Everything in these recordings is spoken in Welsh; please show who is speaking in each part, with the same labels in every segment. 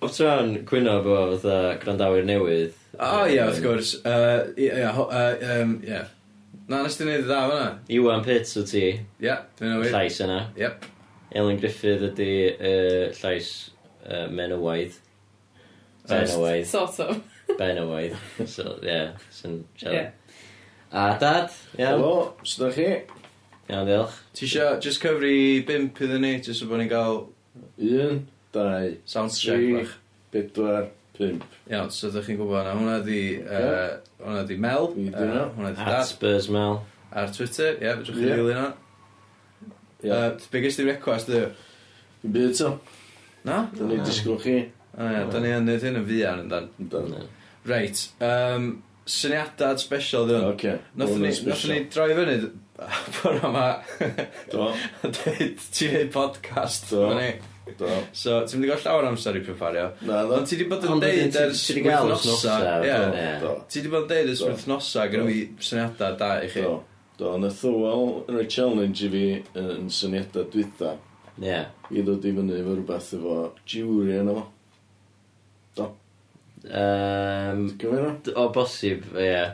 Speaker 1: Bob tro'n cwyno efo fatha gwrandawyr newydd.
Speaker 2: O ia, wrth gwrs. Yy, Ia, ia, ho- yy, yym, ia. Na, nes ti neud y dda fanna?
Speaker 1: Iwan Pitts o ti,
Speaker 2: Ia, dwi'n
Speaker 1: y
Speaker 2: newid.
Speaker 1: llais yna.
Speaker 2: Yep.
Speaker 1: Elin Griffith ydi uh, llais uh, menywaidd. Benywaidd.
Speaker 3: Sort of.
Speaker 1: Benywaidd. So, ie, yeah, sy'n
Speaker 3: Ie.
Speaker 1: siarad. A dad, iawn.
Speaker 4: Helo, sut ydych chi?
Speaker 1: Iawn, diolch.
Speaker 2: Ti isio just cyfri bimp iddyn ni, jyst so bod ni'n gael
Speaker 4: Un, dau,
Speaker 2: sound check
Speaker 4: tri,
Speaker 2: bach.
Speaker 4: bedwar, pump.
Speaker 2: Iawn, so ydych chi'n gwybod na, hwnna di, uh, hwnna di Mel,
Speaker 4: Fi
Speaker 2: yy,
Speaker 4: di hwnna.
Speaker 2: hwnna di
Speaker 1: At
Speaker 2: Dad,
Speaker 1: Spurs Mel.
Speaker 2: ar Twitter, ie, fedrwch chi
Speaker 4: Ie.
Speaker 2: ddilyn hwnna.
Speaker 4: Ia,
Speaker 2: Yy, Be gys di request, dwi?
Speaker 4: dim byd to.
Speaker 2: Na?
Speaker 4: Dyna ni disgwyl chi.
Speaker 2: O ia, da ni yn neud hyn yn fuan yn dan.
Speaker 4: Amdan.
Speaker 2: Reit, um, syniadad special ddi hwn.
Speaker 4: Oce.
Speaker 2: Nothen ni, nothen ni droi fyny bod yma
Speaker 4: Do,
Speaker 2: a dweud ti'n neud podcast.
Speaker 4: Do.
Speaker 2: efo ni.
Speaker 4: do.
Speaker 2: So, ti'n mynd i gael llawer o amser i prepario.
Speaker 4: Na, do.
Speaker 2: Ond ti di bod yn
Speaker 1: Ond wedyn
Speaker 2: deud
Speaker 1: ti-
Speaker 2: ers
Speaker 1: ti 'di gael
Speaker 2: wythnosa.
Speaker 1: wythnosa,
Speaker 2: Ie.
Speaker 1: do.
Speaker 4: Do,
Speaker 2: Ti di bod yn deud ers
Speaker 4: Do.
Speaker 2: wythnosa
Speaker 4: Do.
Speaker 2: gyda fi syniadau da i chi.
Speaker 4: do. Do, na thywel yn rhoi challenge i fi yn syniadau dwytha.
Speaker 1: Ie. Yeah.
Speaker 4: I ddod i fyny efo rhywbeth efo jury yna fo.
Speaker 1: Um,
Speaker 4: Gymera?
Speaker 1: d- o bosib, ie. Yeah.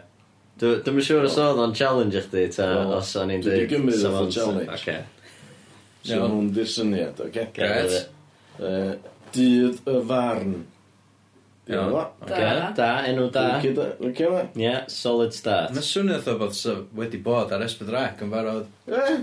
Speaker 1: Dwi'n siŵr os oedd o'n challenge i chdi, ta,
Speaker 4: Do.
Speaker 1: os o'n i'n
Speaker 4: Dwi 'di
Speaker 1: dweud...
Speaker 4: gymryd fatha challenge.
Speaker 1: Okay.
Speaker 4: So
Speaker 2: Iawn.
Speaker 4: hwn di'r syniad, oce?
Speaker 2: Gret.
Speaker 4: Yy, Dydd y farn.
Speaker 2: Iawn.
Speaker 4: Iawn fo.
Speaker 1: Da. da, enw da. Ie,
Speaker 4: Lycio fe?
Speaker 1: yeah, solid start.
Speaker 2: Mae swnio eitha bod sy- wedi bod ar Esbydrec yn barod.
Speaker 4: Eh,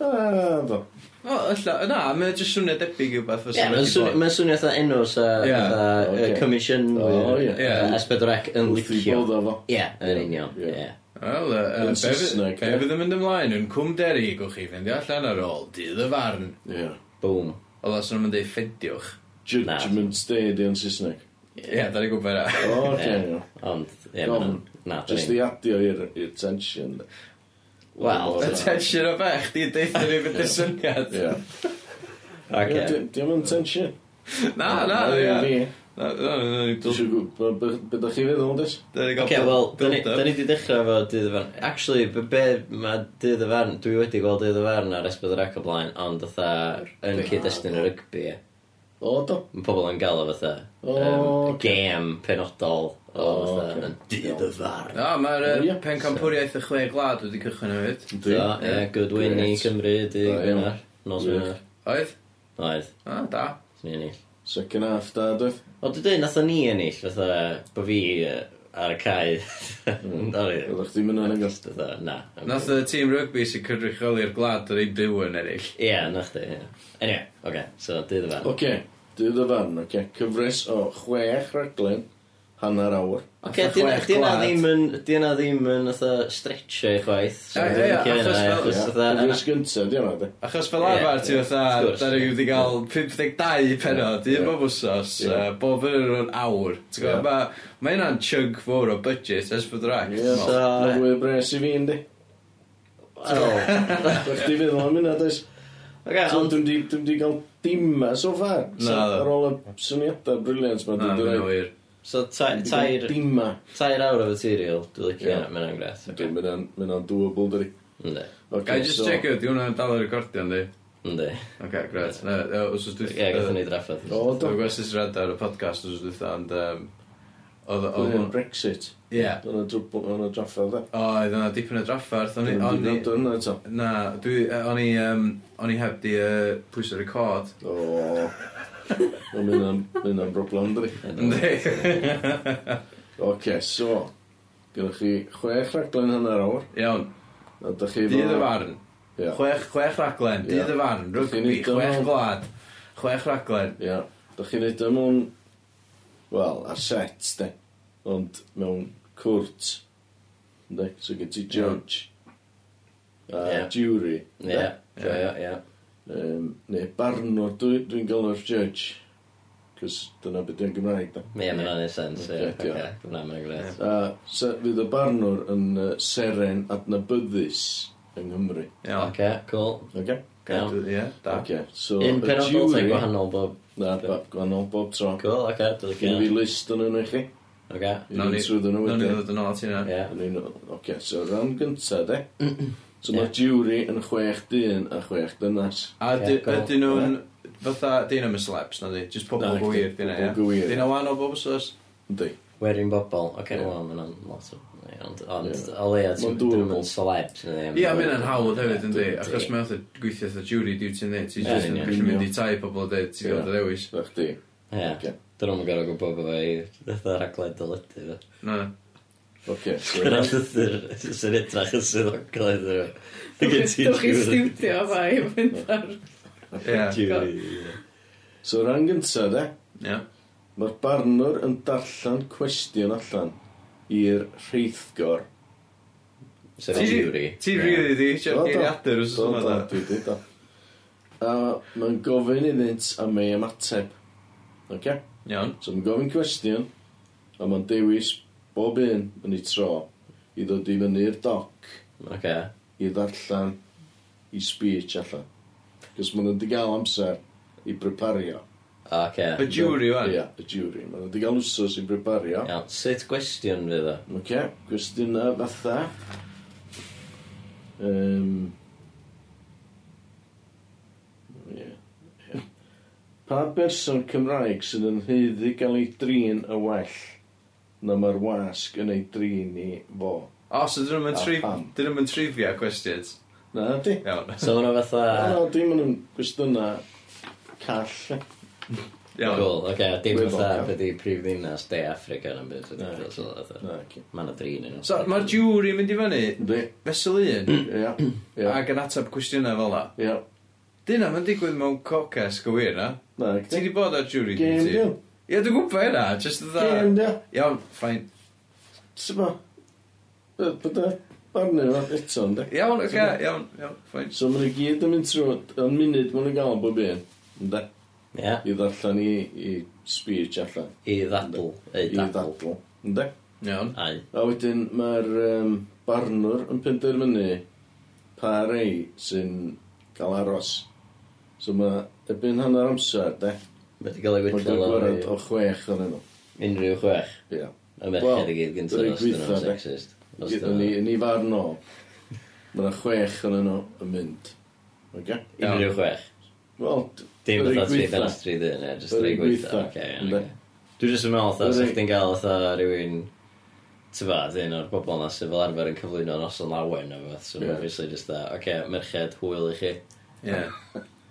Speaker 4: ah, do.
Speaker 2: O, illa, na, mae'n jyst swnio debyg i beth fysa
Speaker 1: Ie, Mae'n swnio- mae'n swnio eitha enw sa
Speaker 2: Ie.
Speaker 1: fatha, yy,
Speaker 4: Ocê.
Speaker 1: commission
Speaker 4: O, ie.
Speaker 2: Ie.
Speaker 1: Esbedrec yn
Speaker 4: Wrth i
Speaker 1: licio.
Speaker 4: bod o fo.
Speaker 1: Ie, yn union.
Speaker 4: Ie.
Speaker 1: Ie.
Speaker 2: Wel, yy, yy, be
Speaker 4: Yn
Speaker 2: fydd-
Speaker 4: Saesneg,
Speaker 2: be
Speaker 4: ie.
Speaker 2: fydd yn mynd ymlaen yn cwm deri gwych chi fynd allan ar ôl dydd y farn.
Speaker 4: Ie.
Speaker 1: Boom.
Speaker 2: Oedd os nhw'n mynd ei ffediwch.
Speaker 4: Judgment Day di yn Saesneg.
Speaker 2: Ie, da e. ni gwybod
Speaker 4: O,
Speaker 2: yna.
Speaker 4: oce,
Speaker 1: Ie.
Speaker 4: iawn.
Speaker 1: Ond, ie,
Speaker 4: Gofn.
Speaker 1: mae'n... Na, dyn
Speaker 4: Jyst
Speaker 1: ni.
Speaker 4: i adio i'r i'r tension.
Speaker 1: Wel,
Speaker 4: Ie.
Speaker 2: Attention o bech, di deitha ni fynd y syniad.
Speaker 4: Ie. Ie,
Speaker 1: oce.
Speaker 4: di- Diolch yn tension.
Speaker 2: Na, na,
Speaker 4: Ah, Ie,
Speaker 2: ie.
Speaker 4: fi.
Speaker 2: Na, na, na, ni
Speaker 4: Dwi
Speaker 2: dwl-
Speaker 4: isio gwybod be- be dach chi feddwl, dys?
Speaker 2: da ni gael
Speaker 1: Oce,
Speaker 2: build-
Speaker 1: wel, da ni
Speaker 2: build up.
Speaker 1: da ni 'di dechrau efo dydd y farn. Actually, be- be mae dydd y farn... Dwi wedi gweld dydd y farn ar Esbedrec o blaen, ond fatha yn cyd-destun y rygbi.
Speaker 4: O, do.
Speaker 1: Mae pobl yn gael o fatha...
Speaker 4: O,
Speaker 1: yym,
Speaker 4: oce.
Speaker 1: Gêm penodol o
Speaker 4: O,
Speaker 1: fatha...
Speaker 4: oce.
Speaker 1: yn Dydd y farn.
Speaker 2: Na, mae'r
Speaker 4: O,
Speaker 2: yy,
Speaker 4: ie.
Speaker 2: pencampwriaeth y chwe gwlad wedi cychwyn hefyd.
Speaker 1: Do,
Speaker 4: Dwi.
Speaker 1: ie, good win i
Speaker 4: Grêt.
Speaker 1: Cymru, di
Speaker 4: Da iawn.
Speaker 1: gynnar. Nos
Speaker 4: Ie.
Speaker 1: gynnar.
Speaker 2: Oedd?
Speaker 1: Oedd,
Speaker 2: A, da.
Speaker 1: ni ennill.
Speaker 4: Second half, da, dwi.
Speaker 1: O, dwi dweud, nath ni ennill, fatha, bo fi yy, ar y cae. Oedd
Speaker 4: Oeddech chdi'n mynd yn agos.
Speaker 1: Fatha, na.
Speaker 2: Nath y tîm rygbi sy'n cynrychioli'r gwlad yr ein byw yn eraill.
Speaker 1: Ie, nath di, ie. Anyway, oce, so dydd y fan.
Speaker 4: Oce, dydd y fan, oce. Cyfres o chwech raglen, hanner awr.
Speaker 1: Oce,
Speaker 2: fatha
Speaker 1: di
Speaker 2: chwech
Speaker 1: yna
Speaker 2: gwlad.
Speaker 1: ddim yn, di yna ddim yn, fatha, stretchio i chwaith. So,
Speaker 2: Ie,
Speaker 1: dwi'n
Speaker 2: ie, achos
Speaker 1: licio
Speaker 2: fel-
Speaker 1: hynna, achos
Speaker 4: Ie.
Speaker 1: fatha-
Speaker 4: Cyfres gyntaf, di hwnna, di.
Speaker 2: Achos fel
Speaker 1: Ie,
Speaker 2: arfer
Speaker 1: ie,
Speaker 2: ti
Speaker 1: wrth
Speaker 2: fatha,
Speaker 1: gwrs.
Speaker 2: da ni wedi cael 52 penod,
Speaker 4: Ie.
Speaker 2: un bob wsos,
Speaker 4: Ie.
Speaker 2: yy, bob yn yr o'n awr. Ti'n gwbod,
Speaker 4: Ie.
Speaker 2: ma- ma' hynna'n chunk fawr o budget, ers bod rac.
Speaker 4: Ie,
Speaker 1: So,
Speaker 4: mae fwy o bres i fi, yndi.
Speaker 1: Wel,
Speaker 4: Oeddech chdi feddwl am hynna, does?
Speaker 1: Oce,
Speaker 4: So,
Speaker 1: ond...
Speaker 4: Dwi'm di- dwi'm di gael dim ma so far.
Speaker 2: Na,
Speaker 4: So,
Speaker 2: do.
Speaker 4: Ar ôl y syniadau briliant
Speaker 2: Na,
Speaker 4: ma, dwi'n
Speaker 2: ma' hynna'n
Speaker 4: dweud.
Speaker 2: wir.
Speaker 1: So, tai- tair...
Speaker 4: Dim ma.
Speaker 1: Tair awr o material, dwi'n licio
Speaker 4: Ie.
Speaker 1: hynna, mae'n angres.
Speaker 4: Dwi'n mynd yn- mynd o'n doable, dydi.
Speaker 1: Ynddi,
Speaker 4: Oce,
Speaker 2: Ga i just
Speaker 4: so-
Speaker 2: check it, di hwnna'n dal ar recordio, yndi?
Speaker 1: ynddi.
Speaker 2: Oce, gret. Na, yy, os oes dwi-
Speaker 1: Ie, gatho ni
Speaker 2: yy,
Speaker 1: drafod.
Speaker 4: O, do.
Speaker 2: dwi'n gweld sut ti'n rhedeg ar y podcast os oes dwi fatha, ond, yym, oedd- oedd
Speaker 4: Dwi'n
Speaker 2: hwn-
Speaker 4: Brexit.
Speaker 2: Ie.
Speaker 4: Dwi'n yn y draffa, dda.
Speaker 2: Oedd yna dipyn o drafferth, o'n i...
Speaker 4: Dwi'n
Speaker 2: o'n i-
Speaker 4: gwneud hwnna eto.
Speaker 2: Na, dwi, yy, o'n i, yym, o'n i heb di yy, pwyso record.
Speaker 4: O. Mae'n mynd am- mynd am broblem, dydi.
Speaker 2: Yndi.
Speaker 4: Oce, so. Gyda chi chwech raglen hanner awr.
Speaker 2: Iawn,
Speaker 4: A dych chi...
Speaker 2: dydd y farn.
Speaker 4: Ie.
Speaker 2: Chwech, chwech raglen, dydd y farn, rygbi,
Speaker 4: Chi'n neud o
Speaker 2: chwech
Speaker 4: mewn-
Speaker 2: gwlad. Chwech raglen.
Speaker 4: Ie. Dych chi'n neud o mewn... Wel, ar set, de. Ond mewn cwrt. Ynddi? So gyd ti judge. A
Speaker 1: Ie.
Speaker 4: jury.
Speaker 1: Ie, ie, ie, ie.
Speaker 4: Um, neu barnwr, dwi- dwi'n gael o'r judge. Cos dyna beth dwi'n Gymraeg, da.
Speaker 1: Ie, mae'n anodd sens, ie.
Speaker 4: Ocê,
Speaker 1: Oce, na, mae'n gret.
Speaker 4: A se, fydd y barnwr yn uh, seren adnabyddus yng Nghymru.
Speaker 2: Iawn.
Speaker 1: Oce, cool.
Speaker 4: Oce?
Speaker 1: Iawn.
Speaker 2: Dw- Ie, da.
Speaker 4: Oce. So,
Speaker 1: Un
Speaker 4: y
Speaker 1: penodol te
Speaker 4: jury-
Speaker 1: gwahanol bob.
Speaker 4: Na, ba- gwahanol bob tro.
Speaker 1: Cool, oce, dwi'n
Speaker 4: Gen i fi
Speaker 1: licio.
Speaker 4: list yn yno i chi.
Speaker 1: Oce,
Speaker 4: I
Speaker 2: Nawn
Speaker 4: fynd
Speaker 2: ni-
Speaker 4: trwy ddyn nhw
Speaker 2: Nawn ni
Speaker 4: wedyn.
Speaker 2: ddod yn ôl ti hynna.
Speaker 1: ie.
Speaker 4: Nawn ni nôl. Oce, so ran gynta, de. So
Speaker 1: Ie.
Speaker 4: mae jury yn chwech dyn a chwech dynas.
Speaker 2: A
Speaker 1: Ie,
Speaker 2: dy-
Speaker 1: cool.
Speaker 2: ydyn nhw'n... fatha, dyn nhw'n celebs, na di? Just pobl
Speaker 4: Na,
Speaker 2: no, wir, dyn
Speaker 4: pobl
Speaker 2: nhw,
Speaker 4: gwir.
Speaker 2: ia? Dyn nhw wahanol bobl sos?
Speaker 4: Yndi.
Speaker 1: Werin bobl. Oce, okay,
Speaker 4: Ie.
Speaker 1: yeah. wel, mae'n lot o... ie, Ond, ond
Speaker 4: Ie.
Speaker 1: yeah. o leia, ti'n
Speaker 4: Ma'n
Speaker 1: dyn
Speaker 4: doable.
Speaker 1: nhw'n celebs. neu ddim.
Speaker 2: Ia, mae hynna'n hawdd hefyd, yndi.
Speaker 1: Yndi.
Speaker 2: Achos mae oedd gweithio eitha jury duty yn dweud. Ti'n
Speaker 1: Ie,
Speaker 2: just yn
Speaker 1: ie.
Speaker 2: gallu mynd i tai pobl a dweud, ti'n
Speaker 4: Ie.
Speaker 2: gael dy ddewis.
Speaker 4: Da chdi.
Speaker 1: Ie.
Speaker 4: Oce.
Speaker 1: Dyn nhw'n gorau gwybod bod fe i ddeth raglen dyledu fe.
Speaker 2: Na.
Speaker 4: Oce.
Speaker 1: Dyna llythyr sy'n edrach yn swyddogol iddyn nhw. Gen ti
Speaker 3: Dwch i
Speaker 1: jury.
Speaker 3: studio fa i fynd ar...
Speaker 2: Ia.
Speaker 1: Jury, ie.
Speaker 4: So rhan gynta, de.
Speaker 2: Ia.
Speaker 4: Mae'r barnwr yn darllen cwestiwn allan i'r rheithgor.
Speaker 1: Sef
Speaker 2: Ti-
Speaker 1: jury.
Speaker 2: Ti rili di, ti'n
Speaker 4: Do, do.
Speaker 2: geiriadur os
Speaker 4: Do,
Speaker 2: yma
Speaker 4: do,
Speaker 2: da.
Speaker 4: dwi di, do. A mae'n gofyn iddynt a mae ymateb. Oce?
Speaker 2: Iawn.
Speaker 4: So mae'n gofyn cwestiwn, a mae'n dewis bob un yn ei tro i ddod i fyny'r doc
Speaker 1: Oce.
Speaker 4: i ddarllen i speech allan. Cos maen nhw wedi cael amser i prepario.
Speaker 1: Oce.
Speaker 2: Y jury, wan.
Speaker 4: Ia, y jury. Maen nhw wedi cael wsos i prepario.
Speaker 1: Iawn, sut gwestiwn fydd o?
Speaker 4: Oce, gwestiynau fatha. Um, yeah. Pa berson Cymraeg sydd yn heiddi gael ei drin y well na mae'r wasg yn ei drin i fo?
Speaker 2: O, so dyn nhw'n
Speaker 1: Ah,
Speaker 4: A
Speaker 2: tri...
Speaker 4: pam?
Speaker 2: Dyn nhw'n trivia questions.
Speaker 4: Na, di.
Speaker 2: Iawn.
Speaker 1: So hwnna fatha...
Speaker 4: Na, dim yn gwestiynau call. eh?
Speaker 2: Iawn.
Speaker 1: Cool, oce, dim
Speaker 4: Gwyddol,
Speaker 1: fatha
Speaker 4: iawn.
Speaker 1: beth i prif ddinas de Africa yn byd.
Speaker 4: Na,
Speaker 1: Mae
Speaker 4: Na, ci.
Speaker 1: yna drin yn
Speaker 2: So, mae'r jury yn mynd i fyny,
Speaker 4: Di,
Speaker 2: fesel un,
Speaker 1: Mm.
Speaker 4: ia, ia,
Speaker 2: ac yn ateb cwestiynau fel la.
Speaker 4: ia.
Speaker 2: Dyna, mae'n digwydd mewn cocas gywir, na?
Speaker 4: Na,
Speaker 2: Ti
Speaker 4: di.
Speaker 2: di bod ar jury,
Speaker 4: Game,
Speaker 2: di ti?
Speaker 4: di.
Speaker 2: Ie, dwi'n gwybod hynna, just yn
Speaker 4: Game,
Speaker 2: dda.
Speaker 4: di.
Speaker 2: Iawn, ffain.
Speaker 4: Sba. Bydda barnu fo eto, ynddi?
Speaker 2: Iawn, oce, iawn, iawn, ffain.
Speaker 4: So mae'n gyd yn mynd trwy, yn munud mae'n gael bob un, ynda,
Speaker 1: Ie,
Speaker 4: i ddarllen i, i speech allan,
Speaker 1: i ddadl. Ei,
Speaker 4: i
Speaker 1: ddadl.
Speaker 4: ddadl, ynda.
Speaker 2: Iawn.
Speaker 1: Ai.
Speaker 4: A wedyn mae'r um, barnwr yn penderfynu pa rei sy'n cael aros. So mae ebyn hanner amser, de,
Speaker 1: Mae wedi cael ei
Speaker 4: mae'n
Speaker 1: wytlo
Speaker 4: cael
Speaker 1: lawr
Speaker 4: gwared o chwech yn nhw.
Speaker 1: i unrhyw chwech.
Speaker 4: Ia.
Speaker 1: Y merched
Speaker 4: Wel,
Speaker 1: i gyd gyntaf
Speaker 4: yr un
Speaker 1: os dyn
Speaker 4: gwaetha,
Speaker 1: nhw'n
Speaker 4: de.
Speaker 1: sexist. Os dyn
Speaker 4: Gyd- Yn
Speaker 1: nhw-
Speaker 4: ei- yn ei farn o, mae chwech yn nhw yn mynd. Okay?
Speaker 1: Unrhyw chwech.
Speaker 4: Wel, d-
Speaker 1: Dim
Speaker 4: yr un
Speaker 1: fatha tri
Speaker 4: gwaetha.
Speaker 1: dyn tri dyn, ie, jyst
Speaker 4: Yr
Speaker 1: rei
Speaker 4: un
Speaker 1: gweitha.
Speaker 4: gwaetha,
Speaker 1: Oce, iawn,
Speaker 4: ynde.
Speaker 1: oce. Dwi jyst yn meddwl,
Speaker 4: Yr
Speaker 1: fatha,
Speaker 4: un-
Speaker 1: sa'ch ti'n gael, fatha, rhywun... Tyfa, dyn o'r bobl na sydd fel arfer yn cyflwyno noson lawen o beth, so
Speaker 4: Ie.
Speaker 1: obviously just da, oce, merched, hwyl i chi.
Speaker 2: Ie.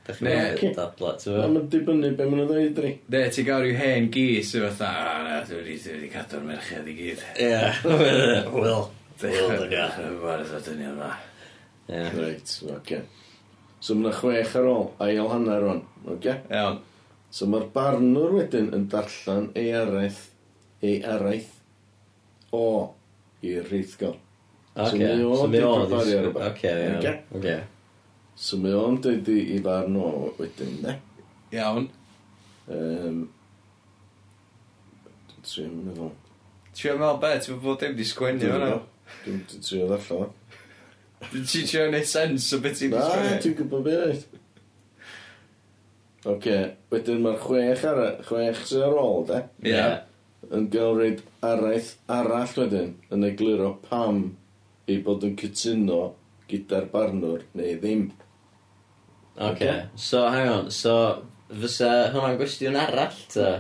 Speaker 1: Dach
Speaker 2: Ne.
Speaker 1: chi'n dadla,
Speaker 4: A
Speaker 1: tyfa?
Speaker 4: mae'n dibynnu be maen nhw'n dweud i.
Speaker 2: Ne, ti gael rhyw hen gys sy'n fatha, a na, dwi wedi, dwi wedi cadw'r merched i gyd.
Speaker 1: Ie, hwyl. Hwyl,
Speaker 2: Dwi'n
Speaker 1: dyn nhw.
Speaker 2: gwybod oedd yn yma.
Speaker 1: Ie.
Speaker 4: Reit, oce. Okay. So mae yna chwech ar ôl, ail hanner o'n, oce? Okay?
Speaker 2: Iawn.
Speaker 4: So mae'r barnwr wedyn yn darllen ei araith, ei araith o i'r rheithgol. So
Speaker 1: Oce,
Speaker 4: mi o
Speaker 1: so mi
Speaker 4: di
Speaker 1: o,
Speaker 4: prefario
Speaker 1: ddisg-
Speaker 4: rhywbeth.
Speaker 1: oce,
Speaker 4: Oce?
Speaker 1: iawn, oce.
Speaker 4: So mae o'n dweud i i farn o wedyn, ne?
Speaker 2: Iawn.
Speaker 4: Um, dwi'n trio mynd efo.
Speaker 2: Ti'n meddwl beth, ti'n bod dim di sgwennu
Speaker 4: Dwi'n
Speaker 2: fyna?
Speaker 4: dwi'n trio ddarllen o.
Speaker 2: Ti'n trio neud sens o beth ti'n di
Speaker 4: Na,
Speaker 2: sgwennu?
Speaker 4: ti'n gwybod beth oedd. Oce, okay, wedyn mae'r chwech, ara, chwech sy'n ar ôl, de?
Speaker 2: Ie.
Speaker 4: yn gywrid araith arall wedyn yn egluro pam ei bod yn cytuno gyda'r barnwr neu ddim.
Speaker 1: Oce, so hang on, so fysa hwnna'n gwestiwn arall ta?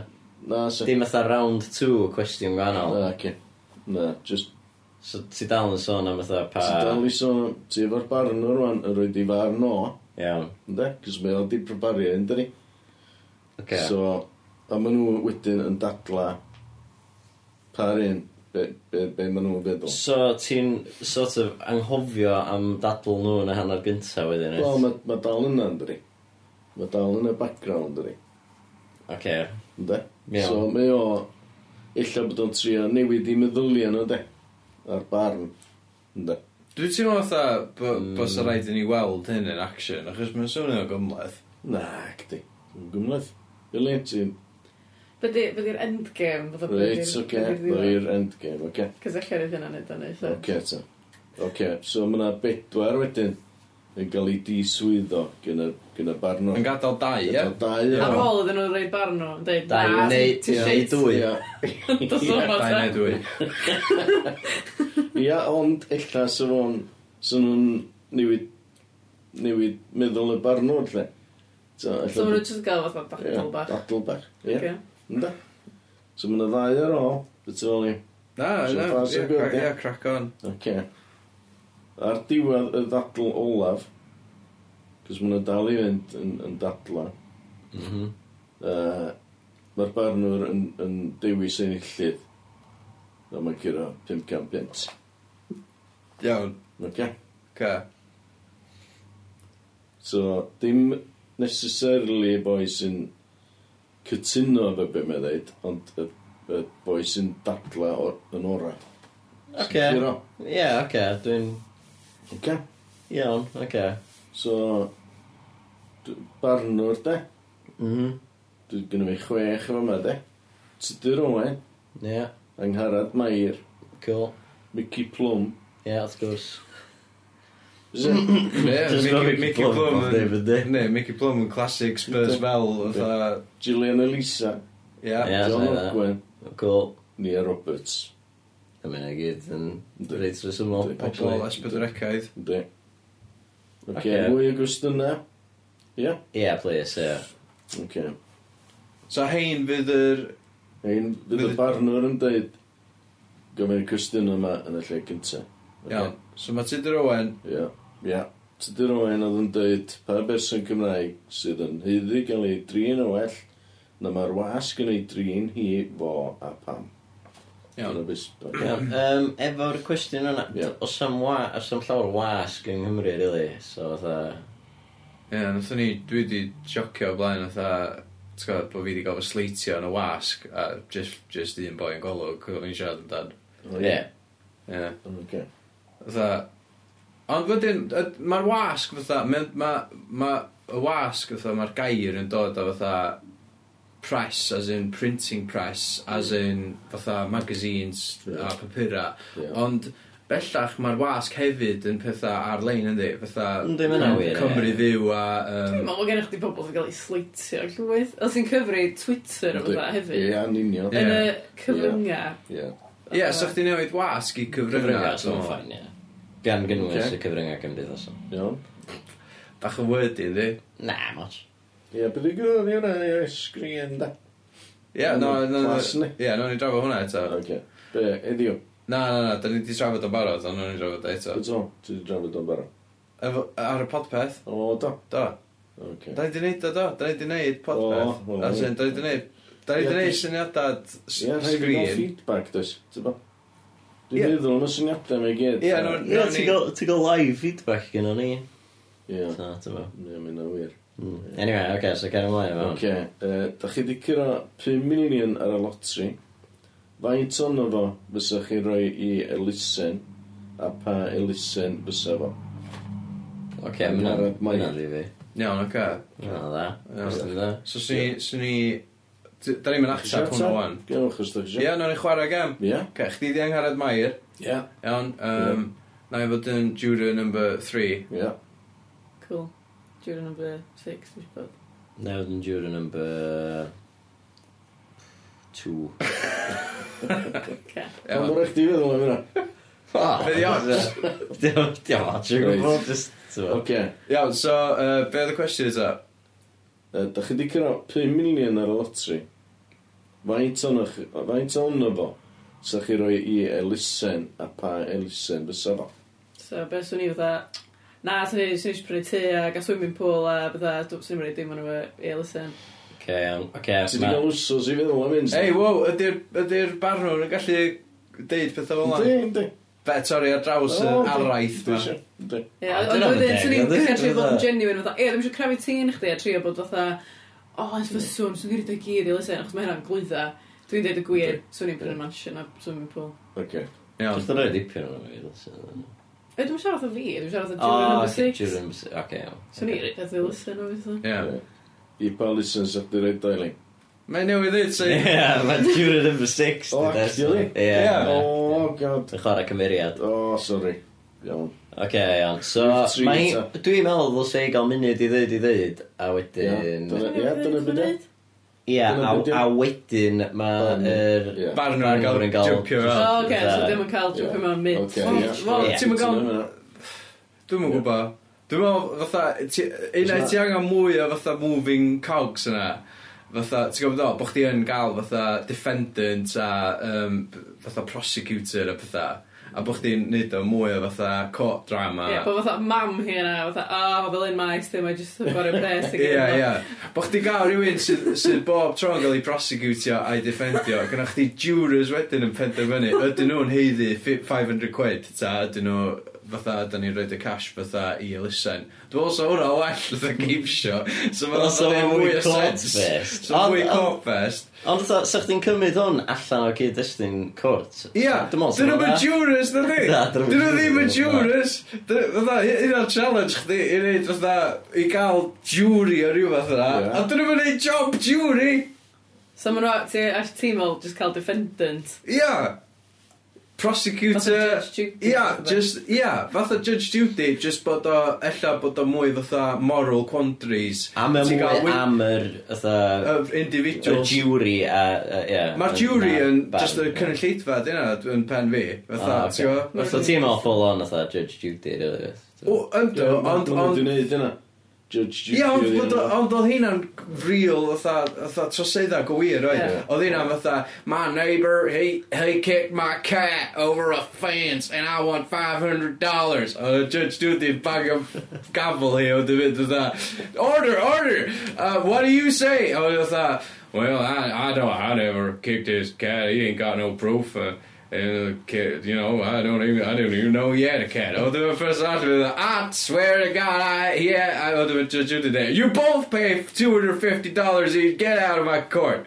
Speaker 4: Na, se...
Speaker 1: Dim fatha round 2 cwestiwn gwahanol.
Speaker 4: Na, ci. Na, just...
Speaker 1: So ti dal yn sôn am fatha pa...
Speaker 4: Ti dal i sôn, ti efo'r barnwr rwan yn rhoi di farn o,
Speaker 1: Iawn,
Speaker 4: ynddo? Cys mae o di prepario, ynddo ni?
Speaker 1: oce.
Speaker 4: So, a maen nhw wedyn yn dadla par un, be, be, be maen nhw'n feddwl.
Speaker 1: So ti'n sort of anghofio am dadl nhw yn y hanner gyntaf wedyn
Speaker 4: Wel,
Speaker 1: wyt?
Speaker 4: mae ma dal yna, ynddo ni? Mae dal yn y background, ynddo ni?
Speaker 1: Oce,
Speaker 4: Ynde?
Speaker 1: Iawn.
Speaker 4: So mae o, illa bod o'n trio newid i meddyliau nhw, de? Ar barn. Ynde?
Speaker 2: Dwi'n teimlo fatha bo- bod sy'n rhaid i ni weld hyn yn action, achos mae'n swnio'n gymleth.
Speaker 4: Na, gdi. Dwi'n gwmlaeth. Ilyn, ti'n...
Speaker 3: Byddai'r endgame, byddai'r
Speaker 4: Reit, oce. Rwy'r endgame, oce.
Speaker 3: Cos allan oedd hynna'n edrych yn eitha.
Speaker 4: Oce, ta. Oce, so mae yna bedwar wedyn yn cael ei diswyddo gen y gen y barn o.
Speaker 2: Yn gadael dau, ie?
Speaker 4: Dau
Speaker 3: Ar
Speaker 4: o.
Speaker 3: ôl iddyn nhw'n rhaid barn nhw, yn dweud,
Speaker 1: Dau
Speaker 3: na,
Speaker 1: neu-
Speaker 3: ti
Speaker 1: neu
Speaker 3: shit."
Speaker 1: dwy.
Speaker 4: Ia,
Speaker 3: Dos o
Speaker 2: Dau neu
Speaker 3: fatha.
Speaker 2: dwy.
Speaker 4: Ia, ond illa sy'n nhw'n... sy'n nhw'n newid... newid meddwl y barn o'r lle. So, ella
Speaker 3: So maen nhw
Speaker 4: bod-
Speaker 3: jyst yn gael fatha
Speaker 4: Ie,
Speaker 3: battle bach.
Speaker 4: Dattlebach, ie.
Speaker 3: Ocê.
Speaker 4: Ynda. So mae yna ddau ar ôl, beth o'n ni.
Speaker 2: Na,
Speaker 4: So
Speaker 2: na,
Speaker 4: far, so
Speaker 2: ie,
Speaker 4: good,
Speaker 2: cra-
Speaker 4: ie.
Speaker 2: ie, crack on.
Speaker 4: Oce. Ar diwedd y ddadl olaf, cos mae yna dal i fynd yn, yn dadla,
Speaker 1: Mhm.
Speaker 4: uh, mae'r barnwr yn, yn dewis ein illydd. A mae'n curo 500 pence.
Speaker 2: Iawn,
Speaker 4: Oce.
Speaker 2: ca.
Speaker 4: So, dim necessarily y boi sy'n cytuno efo beth mae'n dweud, ond y, y boi sy'n dadla o- yn ora.
Speaker 1: Oce.
Speaker 4: Curo.
Speaker 1: Ie, oce. Dwi'n...
Speaker 4: Oce.
Speaker 1: Iawn, oce.
Speaker 4: So, d- barnwr de,
Speaker 1: Mhm.
Speaker 4: Dwi'n gynnu fi chwech efo yma, de. Tudur Owen,
Speaker 1: Ie,
Speaker 4: Angharad Mair,
Speaker 1: cool.
Speaker 4: Mickey Plum.
Speaker 1: Ie, wrth gwrs.
Speaker 4: Is e? it?
Speaker 2: Ie,
Speaker 1: Just not
Speaker 2: Mickey-
Speaker 1: Mickey
Speaker 2: Mickey
Speaker 1: Plum
Speaker 2: Plum
Speaker 1: off
Speaker 2: yn-
Speaker 1: David Day.
Speaker 2: Ne, Mickey Plum yn classic Spurs
Speaker 4: Yndi.
Speaker 2: fel, fatha,
Speaker 4: Gillian Elisa,
Speaker 2: ie.
Speaker 1: Ie. I'll
Speaker 4: John
Speaker 1: say that.
Speaker 4: Ogwen,
Speaker 1: Cool.
Speaker 4: Nia Roberts.
Speaker 1: I mean, I gyd yn
Speaker 4: Yndi.
Speaker 1: reit resymol.
Speaker 4: Yndi.
Speaker 2: Pobl
Speaker 1: actually.
Speaker 2: esbydrecaidd.
Speaker 4: Ynddi. Oce,
Speaker 1: Ocê.
Speaker 4: okay. mwy o gwestiynau? Ie? Yeah?
Speaker 1: Ie, please, ie.
Speaker 4: Oce. Okay.
Speaker 2: So hein fydd yr...
Speaker 4: Ein, fydd y
Speaker 2: Fydd-
Speaker 4: barnwr yn dweud gofyn y cwestiynau yma yn y lle gyntaf.
Speaker 2: Iawn. So mae Tudor Owen,
Speaker 4: Ie. Ie. Tudur Owen oedd yn dweud pa berson Cymraeg sydd yn heiddi gael ei drin o well na mae'r wasg yn ei drin hi, fo a pam.
Speaker 2: iawn.
Speaker 4: Dyna beth-
Speaker 1: Iawn, Yym, efo'r cwestiwn yna,
Speaker 4: Ie.
Speaker 1: d- oes am wa, oes am llawer wasg yng Nghymru, really, so fatha...
Speaker 2: Ie, nathon ni, dwi wedi jocio o blaen fatha, ti'n gwybod, bod fi wedi gofio sleitio yn y wasg, a just, just un boi yn golwg, oedd ni'n siarad amdan.
Speaker 4: O,
Speaker 1: Ie.
Speaker 2: Ie.
Speaker 4: Oce.
Speaker 2: Fatha, ond wedyn, y- mae'r wasg fatha, mae ma, ma, y wasg fatha, mae'r gair yn dod o fatha press, as in printing press, as in fatha magazines a papura.
Speaker 4: Ie.
Speaker 2: Ond bellach mae'r wasg hefyd yn pethau ar-lein yndi, fatha
Speaker 1: Yndi, ma' hynna'n wir, ie.
Speaker 2: Cymru fyw a...
Speaker 3: Dwi'n
Speaker 2: Um,
Speaker 3: meddwl bod gen i chdi pobl sy'n cael ei sleitio llwyth. Os ti'n cyfri Twitter o fatha hefyd.
Speaker 4: Ie, yn union.
Speaker 2: Ie.
Speaker 3: Yn y cyfryngau.
Speaker 4: Ie.
Speaker 2: Ie, yeah, so chdi newid wasg i cyfryngau.
Speaker 1: Cyfryngau, so mae'n ffain, ie. Gan gynnwys
Speaker 4: Ocê.
Speaker 1: y cyfryngau cymdeithasol.
Speaker 4: Iawn.
Speaker 2: Bach yn wordy, ynddi?
Speaker 1: Na, much.
Speaker 4: Ie, bydd i gwrdd i hwnna i'r sgrin da.
Speaker 2: Ie, no, no, no,
Speaker 4: Class, yndi?
Speaker 2: ie, no, ni'n drafod hwnna eto.
Speaker 4: Oce. Be, eddiw,
Speaker 2: Na, na, na, da ni wedi trafod o'n barod, ond no, ni'n drafod o eto.
Speaker 4: beth o'n? Ti wedi drafod o'n barod?
Speaker 2: Efo, ar y podpeth,
Speaker 4: O, do.
Speaker 2: do.
Speaker 4: Oce.
Speaker 2: Da ni wedi neud o, do. Da ni wedi neud podpeth.
Speaker 4: O, o,
Speaker 2: As in, da ni wedi neud... Da ni
Speaker 4: Ie,
Speaker 2: wedi neud
Speaker 4: dwi-
Speaker 2: syniadau s-
Speaker 4: Ie, rhaid i gael
Speaker 2: sgrin.
Speaker 4: feedback, does. Ti'n bo?
Speaker 2: Ie.
Speaker 4: Dwi'n meddwl yn y syniadau mae gyd.
Speaker 2: Ie, no,
Speaker 1: Ie,
Speaker 2: no,
Speaker 1: ti'n
Speaker 2: ni...
Speaker 1: gael- ti'n gael live feedback gyda ni.
Speaker 4: Ie.
Speaker 1: So, ti'n bo.
Speaker 4: Ie, mae'n awyr.
Speaker 1: Mm. Anyway, oce, so cer ymlaen efo. hwn.
Speaker 4: Ok, uh, da chi wedi cyrra 5 milion ar y lotri. Faint ono fo fysa chi roi i elusen a pa elusen fysa fo?
Speaker 1: Oce, mae'n
Speaker 4: Angharad Mair.
Speaker 1: mynd i fi.
Speaker 2: Iawn, oce.
Speaker 1: Na, dda.
Speaker 2: Iawn.
Speaker 1: Cwestiwn dda.
Speaker 2: So, swn i... Swn i... d- Da ni'n mynd
Speaker 4: Isio
Speaker 2: atab hwnna
Speaker 4: atab?
Speaker 2: wan.
Speaker 4: Gewch os da chi
Speaker 2: Ie,
Speaker 4: eisiau.
Speaker 2: no, ni'n chwarae gem.
Speaker 4: Ie?
Speaker 2: Oce, chdi di angharad Mair.
Speaker 4: Ie.
Speaker 2: Iawn, um, na i fod yn juror number 3.
Speaker 4: Ie.
Speaker 3: Cool. Dwi'n number 6, dwi'n siarad.
Speaker 1: Newid yn juror number... Two.
Speaker 3: Okay.
Speaker 4: Ond
Speaker 2: Iawn.
Speaker 4: o'r eich di feddwl am hynna.
Speaker 1: Oh,
Speaker 4: Ah!
Speaker 2: Be di odds?
Speaker 1: Diolch, diolch, ti'n gwybod, just, ti'n gwybod.
Speaker 4: Ok,
Speaker 2: Iawn, so, uh, be oedd y cwestiwn eto?
Speaker 4: uh, da chi wedi cyrra 5 milion ar y lotri. Faint ono, chi- faint ono fo sa chi roi i elusen a pa elusen fysa fo?
Speaker 3: So, beth swn i fatha... Na, swn i swn i eisiau prynu te a gael swimming pool a fatha... dw- Swn i'n mynd i ddim yn efo Eilison.
Speaker 1: Oce, iawn, oce,
Speaker 4: Ti wedi
Speaker 1: ma-
Speaker 4: cael wsos i feddwl am hyn?
Speaker 2: Ei, wow, ydy'r ydy barnwr yn gallu deud pethau fel
Speaker 4: Yndi,
Speaker 2: yna?
Speaker 4: yndi.
Speaker 2: Be, sorry, ar draws y
Speaker 4: O, yndi.
Speaker 2: araith
Speaker 4: Dwi
Speaker 2: ma.
Speaker 4: isio. Yndi.
Speaker 3: Ie,
Speaker 1: A,
Speaker 3: ond
Speaker 1: dyna
Speaker 3: wedyn
Speaker 1: mae'n
Speaker 3: swn
Speaker 1: deg,
Speaker 3: i'n
Speaker 1: yndi?
Speaker 3: dechrau trio bod
Speaker 1: Fatha-
Speaker 3: yn genuine fatha... E, ddim eisiau crafu tîn chdi a trio bod fatha... O, yn ffyswn, swn i'n rhaid o'i gyd Eilison, achos mae hynna'n glwydda. Dwi'n dweud y gwir, swn i'n prynu mansion a swimming pool.
Speaker 4: Oce.
Speaker 2: Iawn.
Speaker 1: Just yn rhoi dipyn o'n fi, dwi'n
Speaker 3: E, dwi'n siarad o fi, dwi'n siarad o Jury
Speaker 4: Ah,
Speaker 1: Oh, okay, Durham,
Speaker 3: number 6.
Speaker 1: okay, iawn.
Speaker 3: Swn i'n rhaid o'i Eilison, obviously.
Speaker 2: Ie.
Speaker 4: Eh, I pa lisens ydw i'r daili?
Speaker 2: Mae newydd ddweud,
Speaker 1: Ie,
Speaker 2: sy'n...
Speaker 1: mae Durham number 6.
Speaker 4: O,
Speaker 1: di, that's-
Speaker 4: actually?
Speaker 2: Ie.
Speaker 1: Ie. Ie.
Speaker 4: O, Oh, god. Oh,
Speaker 1: Dwi'n chwarae cymeriad.
Speaker 4: O, sori. Iawn.
Speaker 1: Oce, iawn. So,
Speaker 4: Rhif tri
Speaker 1: mae...
Speaker 4: eto.
Speaker 1: Dwi'n meddwl ddylse i gael munud i ddeud i ddeud, a wedyn...
Speaker 4: Ie, Ie, dyna byd e.
Speaker 1: Ie,
Speaker 4: dyna
Speaker 1: a,
Speaker 4: be' 'di o.
Speaker 1: a wedyn mae
Speaker 4: Yym,
Speaker 1: yr...
Speaker 4: ie.
Speaker 2: Barnwr yn
Speaker 1: Barnwr
Speaker 2: cael
Speaker 1: yn cael-
Speaker 2: jympio
Speaker 3: O,
Speaker 2: fel.
Speaker 3: oce, so ddim yn cael jump mewn mid.
Speaker 4: Oce,
Speaker 2: Wel,
Speaker 4: ie.
Speaker 2: wel,
Speaker 1: Ie.
Speaker 2: ti'm yn
Speaker 4: Ti'n
Speaker 2: ga'l-
Speaker 4: gwbod hwnna?
Speaker 2: Dwi'm yn
Speaker 4: Ie.
Speaker 2: gwybod. Dwi'n meddwl, fatha, ti- unai ti angen mwy o fatha moving cogs yna, fatha, ti'n gwybod o, bod chdi yn gael fatha defendant a um, fatha prosecutor a petha, a bod chdi'n neud o mwy o fatha court drama.
Speaker 3: Ie, bod fatha mam hi yna, fatha, o, fel un maes, ddim mae jyst yn gorau pres i
Speaker 2: Ie, ie. Bo chdi gael rhywun sydd sy bob tro'n gael ei prosecutio a'i defendio, gyda chdi jurors wedyn yn penderfynu, ydyn nhw'n heiddi fi- 500 quid, ta ydyn nhw fatha, da ni'n rhoi y cash fatha i elusen. Dwi'n meddwl sa hwnna well fatha game show, so mae'n
Speaker 1: Os o'n
Speaker 2: mwy o
Speaker 1: mwy court
Speaker 2: sense.
Speaker 1: fest.
Speaker 2: So mae'n mwy
Speaker 1: Ond- ond-
Speaker 2: court fest.
Speaker 1: Ond fatha, sa chdi'n cymryd hwn allan o gyd-destun cwrt?
Speaker 2: Ie, dyn nhw'n mynd jurors, dyn ni?
Speaker 1: Na,
Speaker 2: Dyn
Speaker 1: dyn nhw'n
Speaker 2: nhw ddim yn
Speaker 1: jurors, na.
Speaker 2: jurors. Dyn- Fatha, un o'r challenge chdi, i wneud fatha, i gael jury o rhywbeth yna,
Speaker 4: Ie.
Speaker 2: a dyn nhw'n mynd job jury.
Speaker 3: So mae'n rhaid, ti, a ti fel, jyst cael defendant.
Speaker 2: Ia. Prosecutor.
Speaker 3: Fatha Judge Judy
Speaker 2: Ia,
Speaker 3: fath o beth.
Speaker 2: just, ia, fatha Judge Judy, just bod o, ella bod o mwy fatha moral quandaries.
Speaker 1: A mae
Speaker 2: Ti'n
Speaker 1: mwy
Speaker 2: cael win-
Speaker 1: am yr, fatha,
Speaker 2: Of
Speaker 1: y
Speaker 2: individuals.
Speaker 1: jury a, a- ie.
Speaker 2: Mae'r
Speaker 1: a-
Speaker 2: jury
Speaker 1: na,
Speaker 2: yn,
Speaker 1: barn,
Speaker 2: just y
Speaker 1: ie.
Speaker 2: cynulleidfa, dyna, yn pen fi. Fatha,
Speaker 1: Ah,
Speaker 2: ti'n
Speaker 1: oce.
Speaker 2: gwybod?
Speaker 1: So ti'n meddwl full on fatha Judge Judy, rili.
Speaker 2: O, ynddo, ond,
Speaker 4: Dwi'n
Speaker 2: ond,
Speaker 4: gwneud yna. Judge Judy.
Speaker 2: Ia, ond
Speaker 4: ydi
Speaker 2: bod o-
Speaker 4: hynna.
Speaker 2: ond oedd hynna'n real, fatha, fatha trosedda go wir,
Speaker 3: Ie.
Speaker 2: oedd? e? Oedd hynna'n fatha, my neighbor, he, he kicked my cat over a fence and I want $500. Oedd y Uh, judge Judy bag o gafel hi, oedd y fynd fatha, uh, order, order, uh, what do you say? A Oedd fatha, uh, well, I, I don't, I never kicked his cat, he ain't got no proof, uh, and the kid, you know, I don't even, I didn't even know he had a cat. Oh, the first after that, I swear to God, I, yeah, I owe the judge today. You both pay two hundred fifty dollars each. Get out of my court.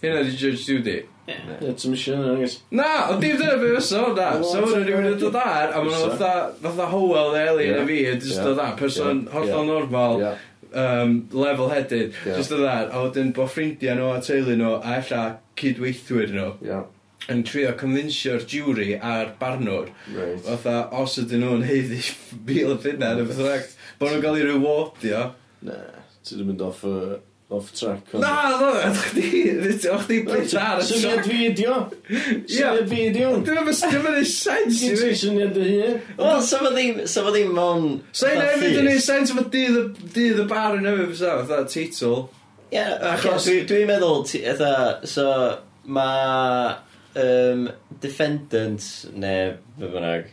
Speaker 2: You know the judge today.
Speaker 3: Ie.
Speaker 4: Ie, ti'n mysio yna, agos.
Speaker 2: Na, ond dim dyna beth fysa hwnna.
Speaker 4: Wel,
Speaker 2: So hwnna ni'n mynd i dod ar, a ma'n
Speaker 4: Fysa.
Speaker 2: fatha, fatha Howell neu Ellie
Speaker 4: Ie.
Speaker 2: neu fi, yn just
Speaker 4: Ie.
Speaker 2: dod ar, person
Speaker 4: Ie.
Speaker 2: hollol
Speaker 4: Ie.
Speaker 2: normal,
Speaker 4: Ie.
Speaker 2: um, level-headed,
Speaker 4: Ie.
Speaker 2: just dod ar, a wedyn bod ffrindiau nhw a teulu nhw, a ella cydweithwyr nhw,
Speaker 4: Ia,
Speaker 2: yn trio convinsio'r jury a'r barnwr,
Speaker 4: reit.
Speaker 2: fatha, os ydyn nhw'n heiddi mil y finna, neu beth rhaid, bod nhw'n cael ei rewardio.
Speaker 4: Na, ti ddim mynd off, uh, off track. ond-
Speaker 2: Na, ddo, oedd chdi, oedd chdi blitz ar y sioc.
Speaker 4: Syniad fideo. Syniad fideo.
Speaker 2: Dwi'n meddwl, dwi'n sens i
Speaker 4: Ti'n
Speaker 2: fi.
Speaker 4: ti syniad dy hun?
Speaker 1: Wel, sa fo ddim, sa fo ddim on...
Speaker 2: Sa'n hefyd yn ei sens efo dydd y- dydd y bar yn hefyd fysa, fatha teitl.
Speaker 1: Ie, achos dwi- dwi'n meddwl, ti- fatha, so, mae um, defendant, neu fe bynnag,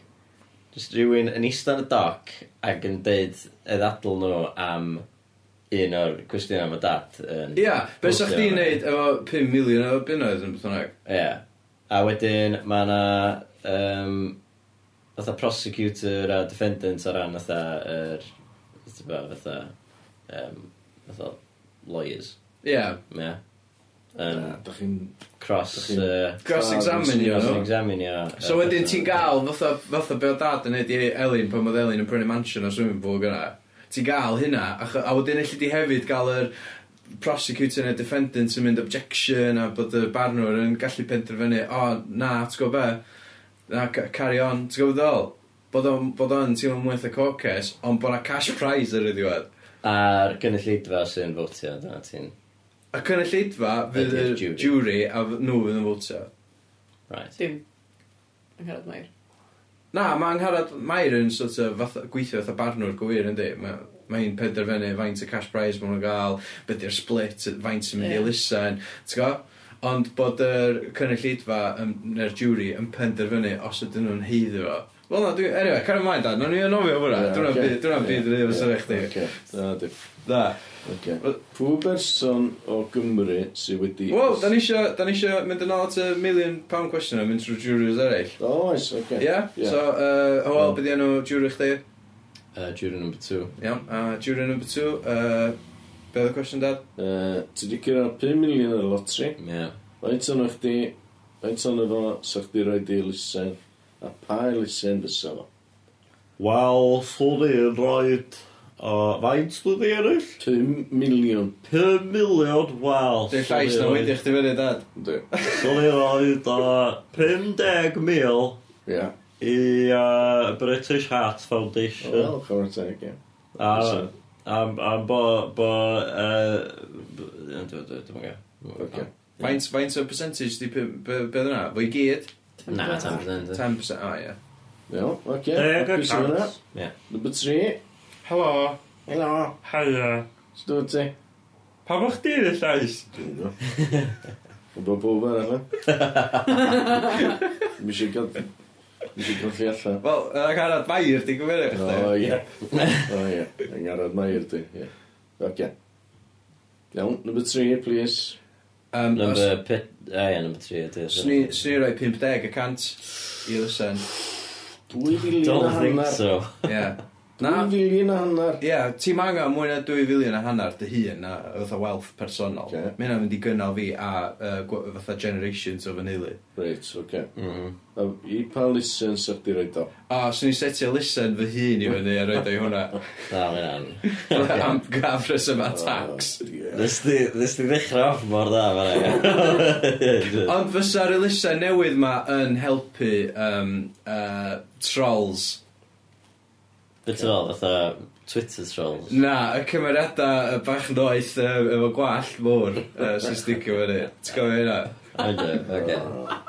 Speaker 1: jyst rhywun yn eistedd yn y doc ac yn deud y ddadl nhw am un o'r cwestiynau mae dad yn...
Speaker 2: Ia, be sa chdi'n
Speaker 1: gwestiynau.
Speaker 2: neud efo 5 miliwn o bunnoedd yn beth bynnag?
Speaker 1: Ie. A wedyn mae yna um, fatha prosecutor a defendant ar ran fatha yr fatha fatha, um, fatha lawyers.
Speaker 2: Ia,
Speaker 1: Ie. Yn
Speaker 4: Na, dach chi'n...
Speaker 1: cross
Speaker 4: Dach chi'n-
Speaker 1: uh,
Speaker 2: cross-examinio
Speaker 1: cross
Speaker 2: nhw.
Speaker 1: examinio.
Speaker 2: So wedyn ti'n gael, fatha, fatha be o dad yn neud i Elin pan oedd Elin yn prynu mansion o swimming pool gyna. Ti'n gael hynna, a, ch- a wedyn allu di hefyd gael yr prosecutor neu defendant yn mynd objection a bod y barnwr yn gallu penderfynu, o, oh, na, ti'n gwybod be, na, c- carry on, ti'n gwybod ddol? Bod o'n bod o'n teimlo'n mwyth y coces, ond bod 'na cash prize ar y ddiwedd.
Speaker 1: A'r gynulleidfa sy'n fwtio, dyna ti'n...
Speaker 2: Ac yn y lleidfa, fydd y
Speaker 1: Ydi'r
Speaker 2: jury.
Speaker 1: jury.
Speaker 2: a f- nhw fydd yn fwtio.
Speaker 1: Right.
Speaker 3: Dim. Yn carad mair.
Speaker 2: Na, mae Angharad Mair yn sort of fatha, gweithio fatha barnwr gwir yndi. Mae ma hi'n penderfynu faint y cash prize maen nhw'n gael, beth yw'r split, faint sy'n mynd i
Speaker 3: Ie.
Speaker 2: elusen, ti'n go? Ond bod yr cynulleidfa yn- neu'r jury yn penderfynu os ydyn nhw'n heiddi fo. Wel na, dwi, anyway, car ymlaen da, nawn ni yn ofio hwnna,
Speaker 4: Ie,
Speaker 2: dwi'n
Speaker 4: ocê.
Speaker 2: byd, dwi'n byd yn ei fod sy'n eich di.
Speaker 4: Oce, na di.
Speaker 2: Da.
Speaker 4: Oce. Pw berson o Gymru sydd wedi...
Speaker 2: Wel, da ni isio- da ni isio mynd yn ôl at y million pound question a mynd trwy juries eraill.
Speaker 4: O, oes,
Speaker 2: Ie?
Speaker 4: oce.
Speaker 2: Yeah?
Speaker 4: Ie.
Speaker 2: So, uh, Howell, beth yw enw jury chdi?
Speaker 1: Uh, jury number two.
Speaker 2: Iawn, a jury number two, uh, be oedd y cwestiwn dad?
Speaker 4: Yy, Ti wedi cyrraedd 5 miliwn ar y lotri.
Speaker 1: Ie. Yeah.
Speaker 4: Faint o'n chdi... Faint o'n efo sa chdi roi di lusen? A pa lusen fysa fo?
Speaker 5: Wel, swn i'n rhaid... Uh, faint dwi'n eraill?
Speaker 4: 5 miliwn.
Speaker 5: 5 miliwn, wel...
Speaker 2: Dwi'n llais na wedi chdi fyny dad.
Speaker 4: Ynddi.
Speaker 5: Swn i'n rhaid uh, 50,000
Speaker 4: Ia.
Speaker 5: i uh, British Heart Foundation.
Speaker 2: Oh,
Speaker 4: Wel, chyfr teg, ia.
Speaker 5: A, am, am bo, bo, uh,
Speaker 1: Dwi'n
Speaker 4: Oce.
Speaker 1: gael.
Speaker 2: Faint, faint o percentage di pum- be be oedd yna? Fo i gyd?
Speaker 1: Na, tam fydd yn.
Speaker 2: 10%, o ie.
Speaker 4: Iawn, oce.
Speaker 5: deg y
Speaker 4: Hapus efo hynna.
Speaker 5: cant.
Speaker 1: Ie.
Speaker 4: Number 3.
Speaker 2: Helo,
Speaker 4: Helo.
Speaker 2: haia.
Speaker 4: Stwyd ti?
Speaker 2: Pa fo chdi yn y llais?
Speaker 4: Dwi'n bod bob arall. eh? Mi si gael... Mi si gael chi allan.
Speaker 2: Wel, yn y canad mair, di gymryd eich
Speaker 4: O, ie. O, ie. Yng Ngharad Mair, di. Ie. Oce. Iawn, number three, please.
Speaker 1: Number pit... A ie, number 3 ydy.
Speaker 2: Swn i- swn i'n rhoi 50 y cant i lysen.
Speaker 4: Dwy filiwn a
Speaker 1: Don't think
Speaker 4: hannar.
Speaker 1: so.
Speaker 2: Ie. Na,
Speaker 4: Dwy filiwn a hannar.
Speaker 2: Ie, yeah, ti'n angen mwy na 2 filiwn a hanner dy hun na fatha wealth personol.
Speaker 4: Ocê.
Speaker 2: Okay. Mae hynna'n mynd i gynnal fi a uh, gw- fatha generations o fy neulu.
Speaker 4: Reit, oce.
Speaker 1: Mhm.
Speaker 4: A I pa listen sa'ch di roed o?
Speaker 2: A swn i'n setio listen fy hun i fyny a roed o'i hwnna.
Speaker 1: Na, mae'n
Speaker 2: Am gaf rheswm a tax.
Speaker 1: Nes di nes di ddechrau off mor dda, mae'n
Speaker 2: Ond fysa'r elusen newydd ma yn helpu um, uh, trolls.
Speaker 1: Bit o fel, fatha Twitter trolls.
Speaker 2: Na, y cymeriadau y bach noeth uh, efo gwallt mwr uh, sy'n sticio fyny. Ti'n gofio hynna?
Speaker 1: Ydw, oce.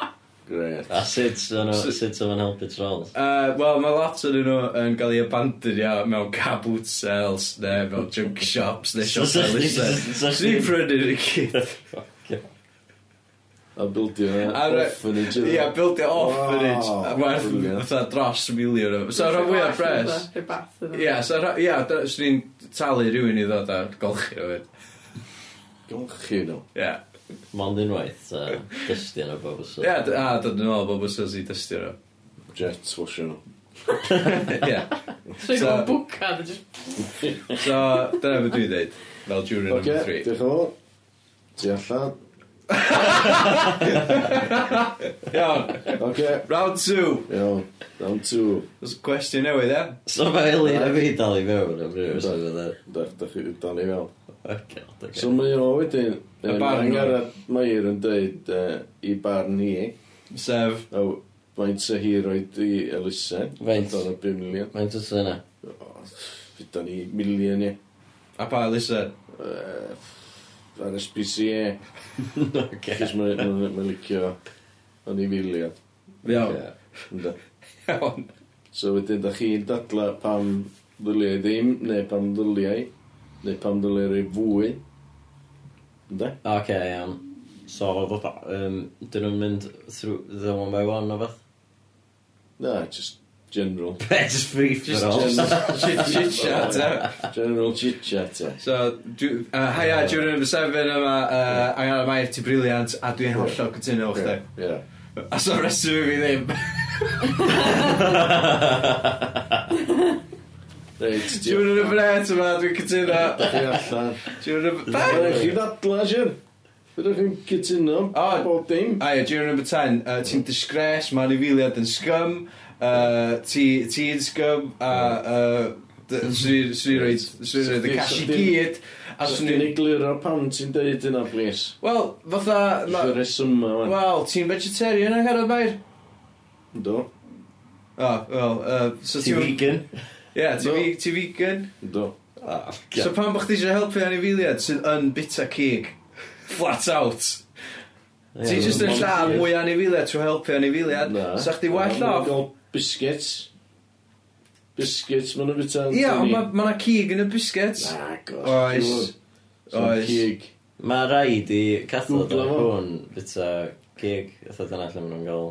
Speaker 4: Gret.
Speaker 1: A sut o'n
Speaker 2: So-
Speaker 1: sut o'n helpu trolls?
Speaker 2: Uh, Wel, mae lot o'n nhw yn cael ei abandonio mewn car boot sales, neu mewn junk shops, neu
Speaker 1: So-
Speaker 2: shops
Speaker 1: so-
Speaker 2: fel eisen.
Speaker 1: so- so-
Speaker 2: Swn i'n prynu'r gyd.
Speaker 4: A bildio
Speaker 2: A re-
Speaker 4: orphanage. iddo.
Speaker 2: Ia, build it off
Speaker 4: Wow,
Speaker 2: yn it. Werth
Speaker 4: brilliant.
Speaker 2: fatha dros miliwn o... So rhan fwy o pres. Ia, so rhan... Ia, dy- swn i'n talu rhywun i ddod a golchi rhywun.
Speaker 4: Golchi nhw.
Speaker 2: Ia.
Speaker 1: Mond unwaith, so dystyn o bob wsod.
Speaker 2: Ia, d- a dod yn ôl bob wsos i dystio nhw.
Speaker 4: Jets washio nhw.
Speaker 2: Ia.
Speaker 3: Rwy'n
Speaker 2: So-
Speaker 3: gwybod bwcad. a jyst-
Speaker 2: So, dyna fe dwi'n dweud. Fel jury
Speaker 4: Oce,
Speaker 2: number
Speaker 4: diolch
Speaker 2: 3.
Speaker 4: yn fawr. Ti allan.
Speaker 2: Iawn.
Speaker 4: Oce.
Speaker 2: Round 2.
Speaker 4: Iawn, down to...
Speaker 2: Os gwestiwn newydd, ia?
Speaker 1: So mae Elin a fi dal i mewn am rhyw so fydda.
Speaker 4: Da, da chi dal i fewn.
Speaker 1: e. Oce,
Speaker 4: So
Speaker 1: oce.
Speaker 4: mae o wedyn...
Speaker 2: Y
Speaker 4: Y
Speaker 2: barn
Speaker 4: barn
Speaker 2: nhw.
Speaker 4: Mair yn dweud uh, i barn ni.
Speaker 2: Sef...
Speaker 4: A w- faint sy hi roed i elusen.
Speaker 1: Faint?
Speaker 4: Ond o'n 5 milion.
Speaker 1: Mae'n dod yna.
Speaker 4: O, Fyda ni milion i.
Speaker 2: A pa, listen.
Speaker 4: Uh, ar SPCA.
Speaker 1: Oce.
Speaker 4: Cys mae'n licio o'n i milion.
Speaker 2: Iawn.
Speaker 4: Ynde.
Speaker 2: Iawn.
Speaker 4: So wedyn, da chi'n dadla pam ddyliau ddim, neu pam ddyliau, neu pam ddyliau rei fwy. Ynda?
Speaker 1: Oce, iawn. So, fatha, um, dyn nhw'n mynd through the one by one o beth?
Speaker 4: Na, just general.
Speaker 1: Be, just free for all.
Speaker 2: Shit, shit, shit, ia.
Speaker 4: General chit-chat, ie.
Speaker 2: So, dwi- uh, haia, dwi'n rhywun number 7 yma, uh, Angana Mair, ti briliant, a dwi'n hollol cytuno o'ch
Speaker 4: Ie,
Speaker 2: di.
Speaker 4: ie.
Speaker 2: A so reswm i fi ddim.
Speaker 4: Reit,
Speaker 2: Dwi'n rhywun number 8 yma, dwi'n cytuno.
Speaker 4: Da chi allan.
Speaker 2: Dwi'n rhywun
Speaker 4: Fydwch
Speaker 2: number...
Speaker 4: chi ddadla, Sian. Fydwch chi'n cytuno.
Speaker 2: O.
Speaker 4: Bob dim.
Speaker 2: A Ah, ie, dwi'n rhywun number 10. Uh, ti'n disgres, mae'n rifiliad yn scum. Uh, ti- Ti'n scum, a... uh, d- Swn i'n rhoi... Swn i'n rhoi y cash i gyd. A
Speaker 4: Os
Speaker 2: swn
Speaker 4: ni'n
Speaker 2: i'n...
Speaker 4: egluro pam ti'n deud yna, please.
Speaker 2: Wel, fatha... ma-
Speaker 4: Fy'r resyma, man.
Speaker 2: Wel, ti'n vegetarian yn Harald Mair?
Speaker 4: Do,
Speaker 2: O, wel, uh, so
Speaker 1: Ti
Speaker 2: ti'n...
Speaker 1: vegan?
Speaker 2: Ie,
Speaker 4: No.
Speaker 2: ti'n ve- ti'n vegan.
Speaker 4: do.
Speaker 1: Ah,
Speaker 2: So
Speaker 1: oce.
Speaker 2: pan bych ti eisiau helpu anifiliad sydd yn bita cig, flat out. Ti'n just yn
Speaker 4: ond-
Speaker 2: lladd mwy anifiliad trwy helpu anifiliad.
Speaker 4: Na.
Speaker 2: Sa chdi well
Speaker 4: Ma' nhw'n
Speaker 2: off.
Speaker 4: gael Biscuits. Biscuits, maen nhw'n bita.
Speaker 2: Ie, ond ma- ma' na cig yn y biscuits.
Speaker 4: Nag
Speaker 2: Oes. Oes.
Speaker 4: Cig.
Speaker 1: Mae rhaid i cathod
Speaker 4: Gwglo
Speaker 1: o'n
Speaker 4: fo.
Speaker 1: hwn bita gig. Ytho dyna lle maen nhw'n gael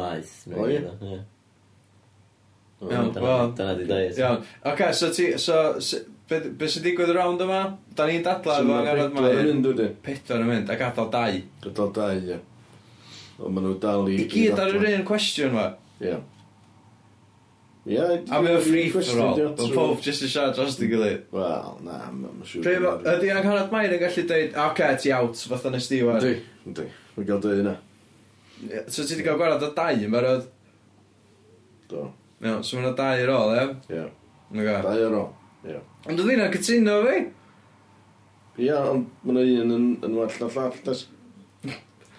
Speaker 1: maeth. neu
Speaker 4: O, ie.
Speaker 1: rywbeth, ie.
Speaker 4: Oh,
Speaker 2: Iawn,
Speaker 1: Dyna-
Speaker 2: wel.
Speaker 1: Dyna di dweud.
Speaker 2: Iawn. Oce, so ti... So, s- be be sy'n digwydd y round yma? Da ni'n dadla efo Harald
Speaker 4: Yn
Speaker 2: Mair.
Speaker 4: mynd wedi.
Speaker 2: Pedwar yn mynd, ac adael dau.
Speaker 4: Gydol dau, ie. Ond maen nhw dal i...
Speaker 2: I gyd ar yr un cwestiwn yma.
Speaker 4: Ie. Ie.
Speaker 2: A mae'n free for all. Mae pob jyst yn siarad dros dy gilydd.
Speaker 4: Wel, na, mae'n siŵr.
Speaker 2: Pryd ma- Ydy Angharad Mair yn gallu dweud, oce, ti out, fatha nes di wan.
Speaker 4: Ydy, ydy. Mae'n gael dweud yna.
Speaker 2: So ti wedi cael gwarad o dau yn barod?
Speaker 4: Do,
Speaker 2: Iawn, so mae'n dau ar ôl, ie?
Speaker 4: ie.
Speaker 2: Nga.
Speaker 4: Dau ar ôl. Ie.
Speaker 2: Ond oedd hynna'n cytuno fi?
Speaker 4: Ie, ond mae'n un yn, yn well na llall, des.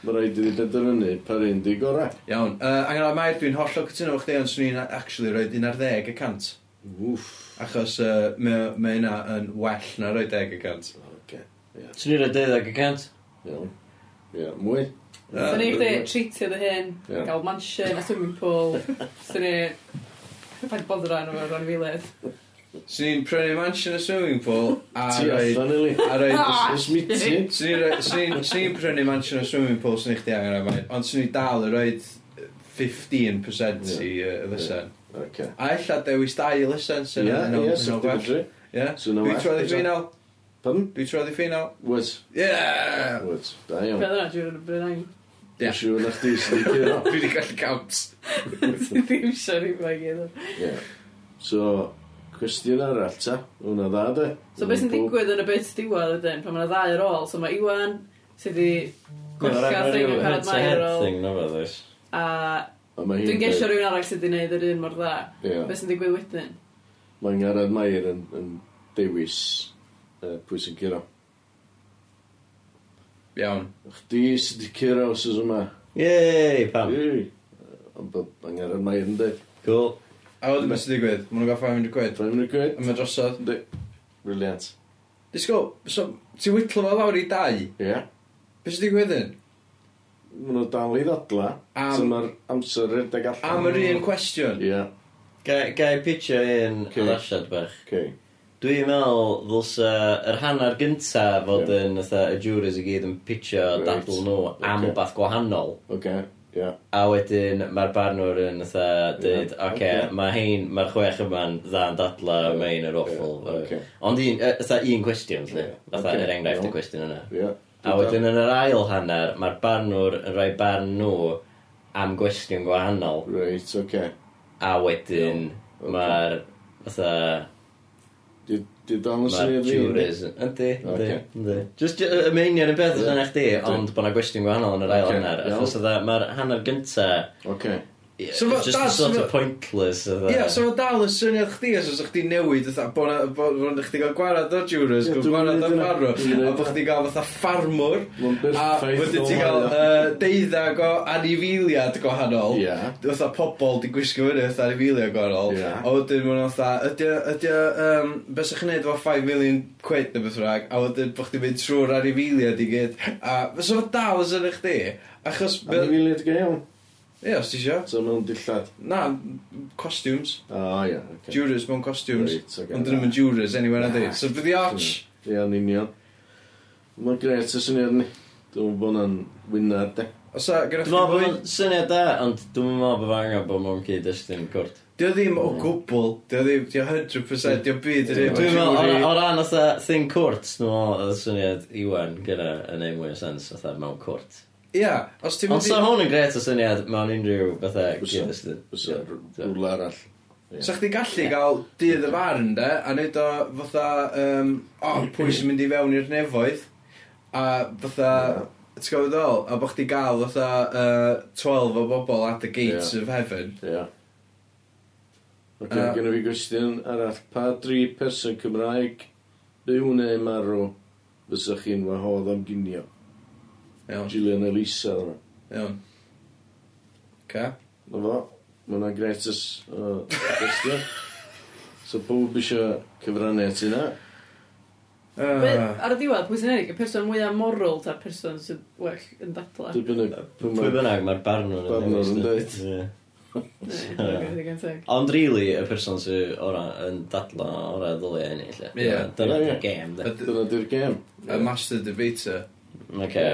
Speaker 4: Mae rhaid i ni benderfynu per un di gorau.
Speaker 2: Iawn, uh, Angharad Mair, dwi'n hollol cytuno fo chdi, ond swn i'n actually rhoi un ar ddeg y cant.
Speaker 4: Wff.
Speaker 2: Achos uh, mae ma hynna yn well na rhoi deg y cant.
Speaker 4: Oce.
Speaker 1: Swn i'n rhaid dweud ag y cant?
Speaker 4: Iawn. Ie, mwy.
Speaker 3: Swn i
Speaker 2: Yy,
Speaker 3: chdi treatio dy hyn,
Speaker 4: Ie.
Speaker 3: gael mansion a swimming pool. Swn i... Pa'n bod yn rhan o'r anifiliad.
Speaker 2: Swn i'n prynu mansion a swimming pool a
Speaker 4: Ti
Speaker 2: roed...
Speaker 4: allan, Eli.
Speaker 2: A roed...
Speaker 3: Ah,
Speaker 4: Os mi ti...
Speaker 3: shit.
Speaker 2: Swn i'n roi- swn i'n- swn i'n prynu mansion a swimming pool sy'n eich di angen am Ond swn i'n dal y roed 15% i uh, y lysen.
Speaker 4: Oce.
Speaker 2: A ella dewis dau i lysen
Speaker 4: Ie,
Speaker 2: sy'n yn
Speaker 4: ie, sy'n
Speaker 2: o'r
Speaker 4: dwi
Speaker 2: Ie?
Speaker 4: So no
Speaker 2: Dwi'n
Speaker 4: well,
Speaker 2: troedd i
Speaker 4: is it?
Speaker 2: ffinal.
Speaker 4: Pardon?
Speaker 2: Dwi'n troedd i ffinal.
Speaker 4: Woods.
Speaker 2: Yeah!
Speaker 4: Woods. Da iawn.
Speaker 3: Beth yna, dwi'n rhywbeth rhaid.
Speaker 2: Ie.
Speaker 4: Dwi'n siŵr na chdi sy'n di curo.
Speaker 2: Dwi wedi gallu count.
Speaker 3: Ti ddim eisiau rhywbeth i gyd.
Speaker 4: Ie. So, cwestiwn arall ta. Hwna dda, de.
Speaker 3: So beth sy'n digwydd yn y bit diwedd ydyn, pan mae'na ddau ar ôl, so mae Iwan sydd wedi gollca thing yn
Speaker 1: head
Speaker 3: cael
Speaker 1: to
Speaker 3: mai ar
Speaker 1: head
Speaker 3: ôl,
Speaker 1: thing, no fe, ddys.
Speaker 3: a
Speaker 4: A mae hi'n
Speaker 3: dwi'n gesio
Speaker 4: deud-
Speaker 3: rhywun arall sydd wedi gwneud yr un mor dda.
Speaker 4: Ie.
Speaker 3: Beth sy'n digwydd wedyn?
Speaker 4: Mae Ngarad Mair yn, yn dewis uh, pwy sy'n curo.
Speaker 2: Iawn.
Speaker 4: Chdi sy'n di curo os ys yma.
Speaker 1: Yay, pam.
Speaker 4: Ie. Ond bod mae Ngarad Mair yn dweud.
Speaker 1: Cool.
Speaker 2: A wedyn beth sy'n digwydd? Mae nhw'n gael 500 quid.
Speaker 4: Rwy'n mynd
Speaker 2: A
Speaker 4: gwed.
Speaker 2: mae drosodd.
Speaker 4: Briliant.
Speaker 2: Disgwyl, so, ti wytlo fo lawr i dau.
Speaker 4: Ie. Yeah.
Speaker 2: Beth sy'n digwydd yn?
Speaker 4: Mae nhw dal i ddadla.
Speaker 2: Am-
Speaker 4: So mae'r amser rhedeg allan.
Speaker 2: Am yr un cwestiwn.
Speaker 4: Ie.
Speaker 1: Gai gai pitio un
Speaker 4: Oce.
Speaker 1: addasiad bach.
Speaker 4: Okay.
Speaker 1: Dwi'n meddwl ddylsa yr hanner gynta fod
Speaker 4: Ie.
Speaker 1: yn fatha y jurors i gyd yn pitio
Speaker 4: Reit.
Speaker 1: dadl nhw am
Speaker 4: Oce.
Speaker 1: wbath gwahanol.
Speaker 4: Okay. Ie.
Speaker 1: A wedyn mae'r barnwr yn fatha dweud,
Speaker 4: Ie,
Speaker 1: oce,
Speaker 4: oce.
Speaker 1: mae hein, mae'r chwech yma'n dda yn dadla,
Speaker 4: Ie,
Speaker 1: mae hein yr awful.
Speaker 4: ie, oce.
Speaker 1: Ond un, yy, fatha un cwestiwn, lle.
Speaker 4: Ie,
Speaker 1: Fatha
Speaker 4: oce,
Speaker 1: er enghraifft
Speaker 4: iawn.
Speaker 1: y cwestiwn yna.
Speaker 4: Ie.
Speaker 1: A wedyn yn yr ail hanner, mae'r barnwr yn rhoi barn nhw am gwestiwn gwahanol.
Speaker 4: Reit, oce.
Speaker 1: A wedyn
Speaker 4: Iawn, oce.
Speaker 1: mae'r, fatha,
Speaker 4: Di di dal yn
Speaker 1: Mae'r
Speaker 4: syniad fi.
Speaker 1: juries yn... Yndi, yndi,
Speaker 4: Ocê.
Speaker 1: yndi. Just y y meinion y beth
Speaker 4: Ie.
Speaker 1: yna chdi,
Speaker 4: Yndi.
Speaker 1: ond bod yna gwestiwn gwahanol yn yr ail
Speaker 4: Ocê,
Speaker 1: hanner.
Speaker 4: iawn.
Speaker 1: Achos yna, mae'r hanner gynta...
Speaker 4: Oce.
Speaker 1: i-
Speaker 2: So ma-
Speaker 1: Just
Speaker 2: da, so
Speaker 1: sort
Speaker 2: ma-
Speaker 1: of pointless yna.
Speaker 2: Ie, so mae dal yn syniad chdi os oes chdi newid fatha bod na- bod bod chdi gael gwarad o jurors,
Speaker 4: Ie,
Speaker 2: gael
Speaker 4: dwi'n
Speaker 2: gwarad
Speaker 4: gwneud
Speaker 2: o
Speaker 4: hynna.
Speaker 2: farw,
Speaker 4: Dwi'n
Speaker 2: a
Speaker 4: gwneud
Speaker 2: bod
Speaker 4: hynna.
Speaker 2: chdi gael fatha farmwr,
Speaker 4: Mae'n
Speaker 2: a
Speaker 4: berffaith.
Speaker 2: wedyn ti gael yy, deuddag o anifiliad gwahanol.
Speaker 4: Ie.
Speaker 2: Fytha pobol di gwisgo fyny fatha anifiliad gwahanol.
Speaker 4: Ie.
Speaker 2: A wedyn ma'n fatha, ydy, ydy, um, beth sy'ch gwneud efo 5 million quid neu beth rhaeg, a wedyn bod chdi mynd trwy'r anifiliad i gyd. A fysa fo dal yn sy'n eich di, achos...
Speaker 4: A ni
Speaker 2: be-
Speaker 4: filiad gael iawn.
Speaker 2: Ie, os ti isio.
Speaker 4: So mewn dillad.
Speaker 2: Na, costumes.
Speaker 4: O, ie. oce.
Speaker 2: Jurors mewn costumes.
Speaker 4: Reit, oce.
Speaker 2: Ond dyn nhw'n jurors, anyway, na di.
Speaker 4: Na.
Speaker 2: So, bydd i arch.
Speaker 4: Ie, yn union. Mae'n gret y syniad ni. Dwi'n meddwl bod hwnna'n wynar, de.
Speaker 2: Os a, gyda chdi
Speaker 1: Dwi'n meddwl bod
Speaker 2: fwy...
Speaker 1: o'n syniad da, ond dwi'n meddwl bod angen bod mewn cyd-destun cwrt.
Speaker 2: Dio ddim o gwbl. Dio ddim, dio 100%, dio byd.
Speaker 1: Dwi'n
Speaker 2: Dwi'n
Speaker 1: meddwl, o ra- o ran oedd thing cwrt, dwi'n meddwl oedd y syniad Iwan gyda yn ei mwy o sens oedd mewn cwrt.
Speaker 2: Ie, os ti'n
Speaker 1: Ond
Speaker 2: mynd
Speaker 1: sa
Speaker 2: i...
Speaker 1: hwn yn gret o syniad mewn unrhyw bethau
Speaker 4: Fysa.
Speaker 1: cyd-destun.
Speaker 4: Fysa
Speaker 1: Ie.
Speaker 4: rhywle arall.
Speaker 2: Sa chdi gallu gael dydd y farn, de, a wneud o fatha, um, o, pwy sy'n mynd i fewn i'r nefoedd, a fatha, ti'n gwybod ddol, a bod chdi gael fatha uh, 12 o bobl at the gates
Speaker 4: Ie.
Speaker 2: of heaven.
Speaker 4: Ie. Ok,
Speaker 2: Yy.
Speaker 4: gynnu fi gwestiwn arall. Pa dri person Cymraeg byw neu marw fysa chi'n wahodd am ginio?
Speaker 2: Iawn,
Speaker 4: Gillian Elisa, dyma.
Speaker 2: iawn. Ca?
Speaker 4: Na fo, mae hwnna'n gret ys o gwestiwn. So pob eisiau cyfrannu at hynna.
Speaker 3: Be-
Speaker 2: Yy,
Speaker 3: Ar y diwedd, pwy sy'n enig, y person mwyaf moral ta'r person sydd well yn dadla.
Speaker 4: Dibynnu
Speaker 1: Pwy bynnag mae'r barnwr yn
Speaker 4: Barnwr yn
Speaker 1: newid,
Speaker 4: deud.
Speaker 1: ie.
Speaker 3: Neu, dwi'n digon teg.
Speaker 1: Ond really, y person sy'n ora yn dadla ora ddylia hynny, lle.
Speaker 2: Ie.
Speaker 1: Dyna
Speaker 4: Ie, ie.
Speaker 1: yeah. gêm, de.
Speaker 2: y-
Speaker 4: Dyna di'r gem.
Speaker 2: y master debater.
Speaker 1: Oce.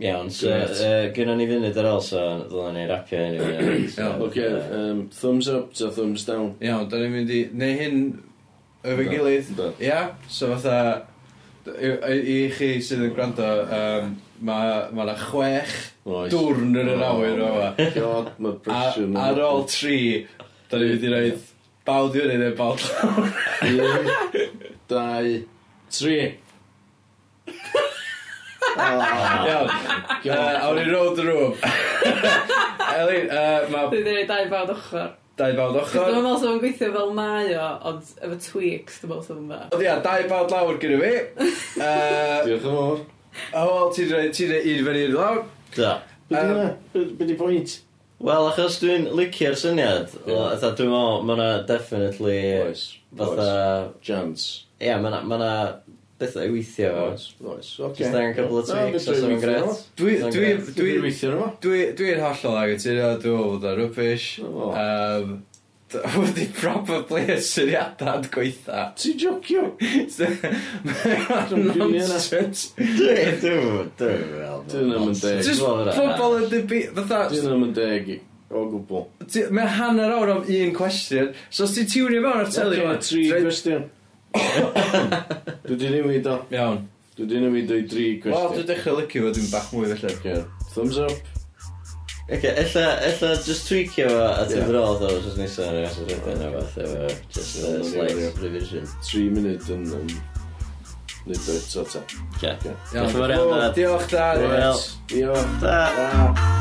Speaker 1: Iawn, so,
Speaker 4: Grêt.
Speaker 1: uh, gynna ni fynd ar ôl, so ddylen ni rapio hynny. fyny. So,
Speaker 2: Iawn.
Speaker 4: Ok,
Speaker 1: yy,
Speaker 4: um, thumbs up ta thumbs down.
Speaker 2: Iawn, da ni'n mynd i... Neu hyn efo'i
Speaker 4: Da,
Speaker 2: gilydd.
Speaker 4: da.
Speaker 2: Ia, so fatha... I, i chi sydd yn gwrando, um, mae ma 'na chwech
Speaker 4: Oes.
Speaker 2: dwrn yn yr awyr o yma.
Speaker 4: God, mae
Speaker 2: A-
Speaker 4: pressure.
Speaker 2: Ar ôl tri, da ni wedi rhaid bawd i fyny neu bawd lawr.
Speaker 4: Un, dau, tri.
Speaker 2: Iawn, yy, awn ni round the room. Elin, yy, mae
Speaker 3: Dwi'n dweud dau bawd ochr.
Speaker 2: dau bawd
Speaker 3: Dwi'n
Speaker 2: ochr.
Speaker 3: meddwl sef yn gweithio fel mae o, ond efo tweaks, dwi'n meddwl sef yn dda.
Speaker 2: Ond ia, dau bawd lawr gyda fi. Yy,
Speaker 4: Diolch yn fawr.
Speaker 2: A wel, ti'n rhaid ti'n rhaid un fyny i'r lawr.
Speaker 1: Da.
Speaker 4: Be
Speaker 2: Yym,
Speaker 4: di hynna? Be- Be di pwynt?
Speaker 1: Wel, achos dwi'n licio'r syniad,
Speaker 4: Ie.
Speaker 1: o, fatha, dwi'n meddwl, mae'na definitely,
Speaker 4: Oes.
Speaker 1: fatha,
Speaker 4: Oes. Jans.
Speaker 1: ia, mae'na ma bethau i weithio fo.
Speaker 4: Oes. Oes. Ok.
Speaker 1: Just angen couple of
Speaker 4: Na,
Speaker 1: tweaks, os
Speaker 4: fedra i
Speaker 1: o'n
Speaker 4: weithio
Speaker 1: gret.
Speaker 2: Dwi,
Speaker 1: So'n
Speaker 2: dwi,
Speaker 1: grêt.
Speaker 4: Dwi'n
Speaker 2: dwi,
Speaker 4: weithio yma.
Speaker 2: Dwi- Dwi'n hollol ag y tynnu, dwi'n meddwl bod o'n rwbish.
Speaker 4: O.
Speaker 2: Um, wedi probably y syniadad gweitha.
Speaker 4: Ti'n jocio?
Speaker 2: Nonsense.
Speaker 1: Dwi'n dwi'n dwi'n
Speaker 4: Dwi'n ddim yn deg.
Speaker 2: Just pobl yn debu...
Speaker 4: Dwi'n
Speaker 2: Fatha...
Speaker 4: ddim yn deg i- o gwbl.
Speaker 2: ti- Mae hanner awr am un cwestiwn. So os ti tiwnio mewn ar teli...
Speaker 4: Ocê,
Speaker 2: ma-
Speaker 4: tri
Speaker 2: dweud-
Speaker 4: cwestiwn. Dwi di newid o.
Speaker 2: Iawn.
Speaker 4: Dwi di newid o'i dri
Speaker 2: Wel, dwi'n
Speaker 4: cwestiwn.
Speaker 2: dechrau licio fod dwi'n bach mwy felly.
Speaker 4: Ocê. Thumbs up.
Speaker 1: Ok, ella, ella just tweakio fo a
Speaker 4: Ie.
Speaker 1: ti'n dro ddo wrth nesa yn ymwneud â'r rhywbeth neu beth efo just a
Speaker 4: Dwi'n gwybod.
Speaker 1: slight revision.
Speaker 4: Tri munud yn... yn- Neud o eto ta.
Speaker 1: Ok,
Speaker 4: Iawn.
Speaker 1: diolch yn fawr iawn dad.
Speaker 2: Diolch, da.
Speaker 1: Wel.
Speaker 4: Diolch.
Speaker 1: Da.
Speaker 4: Da.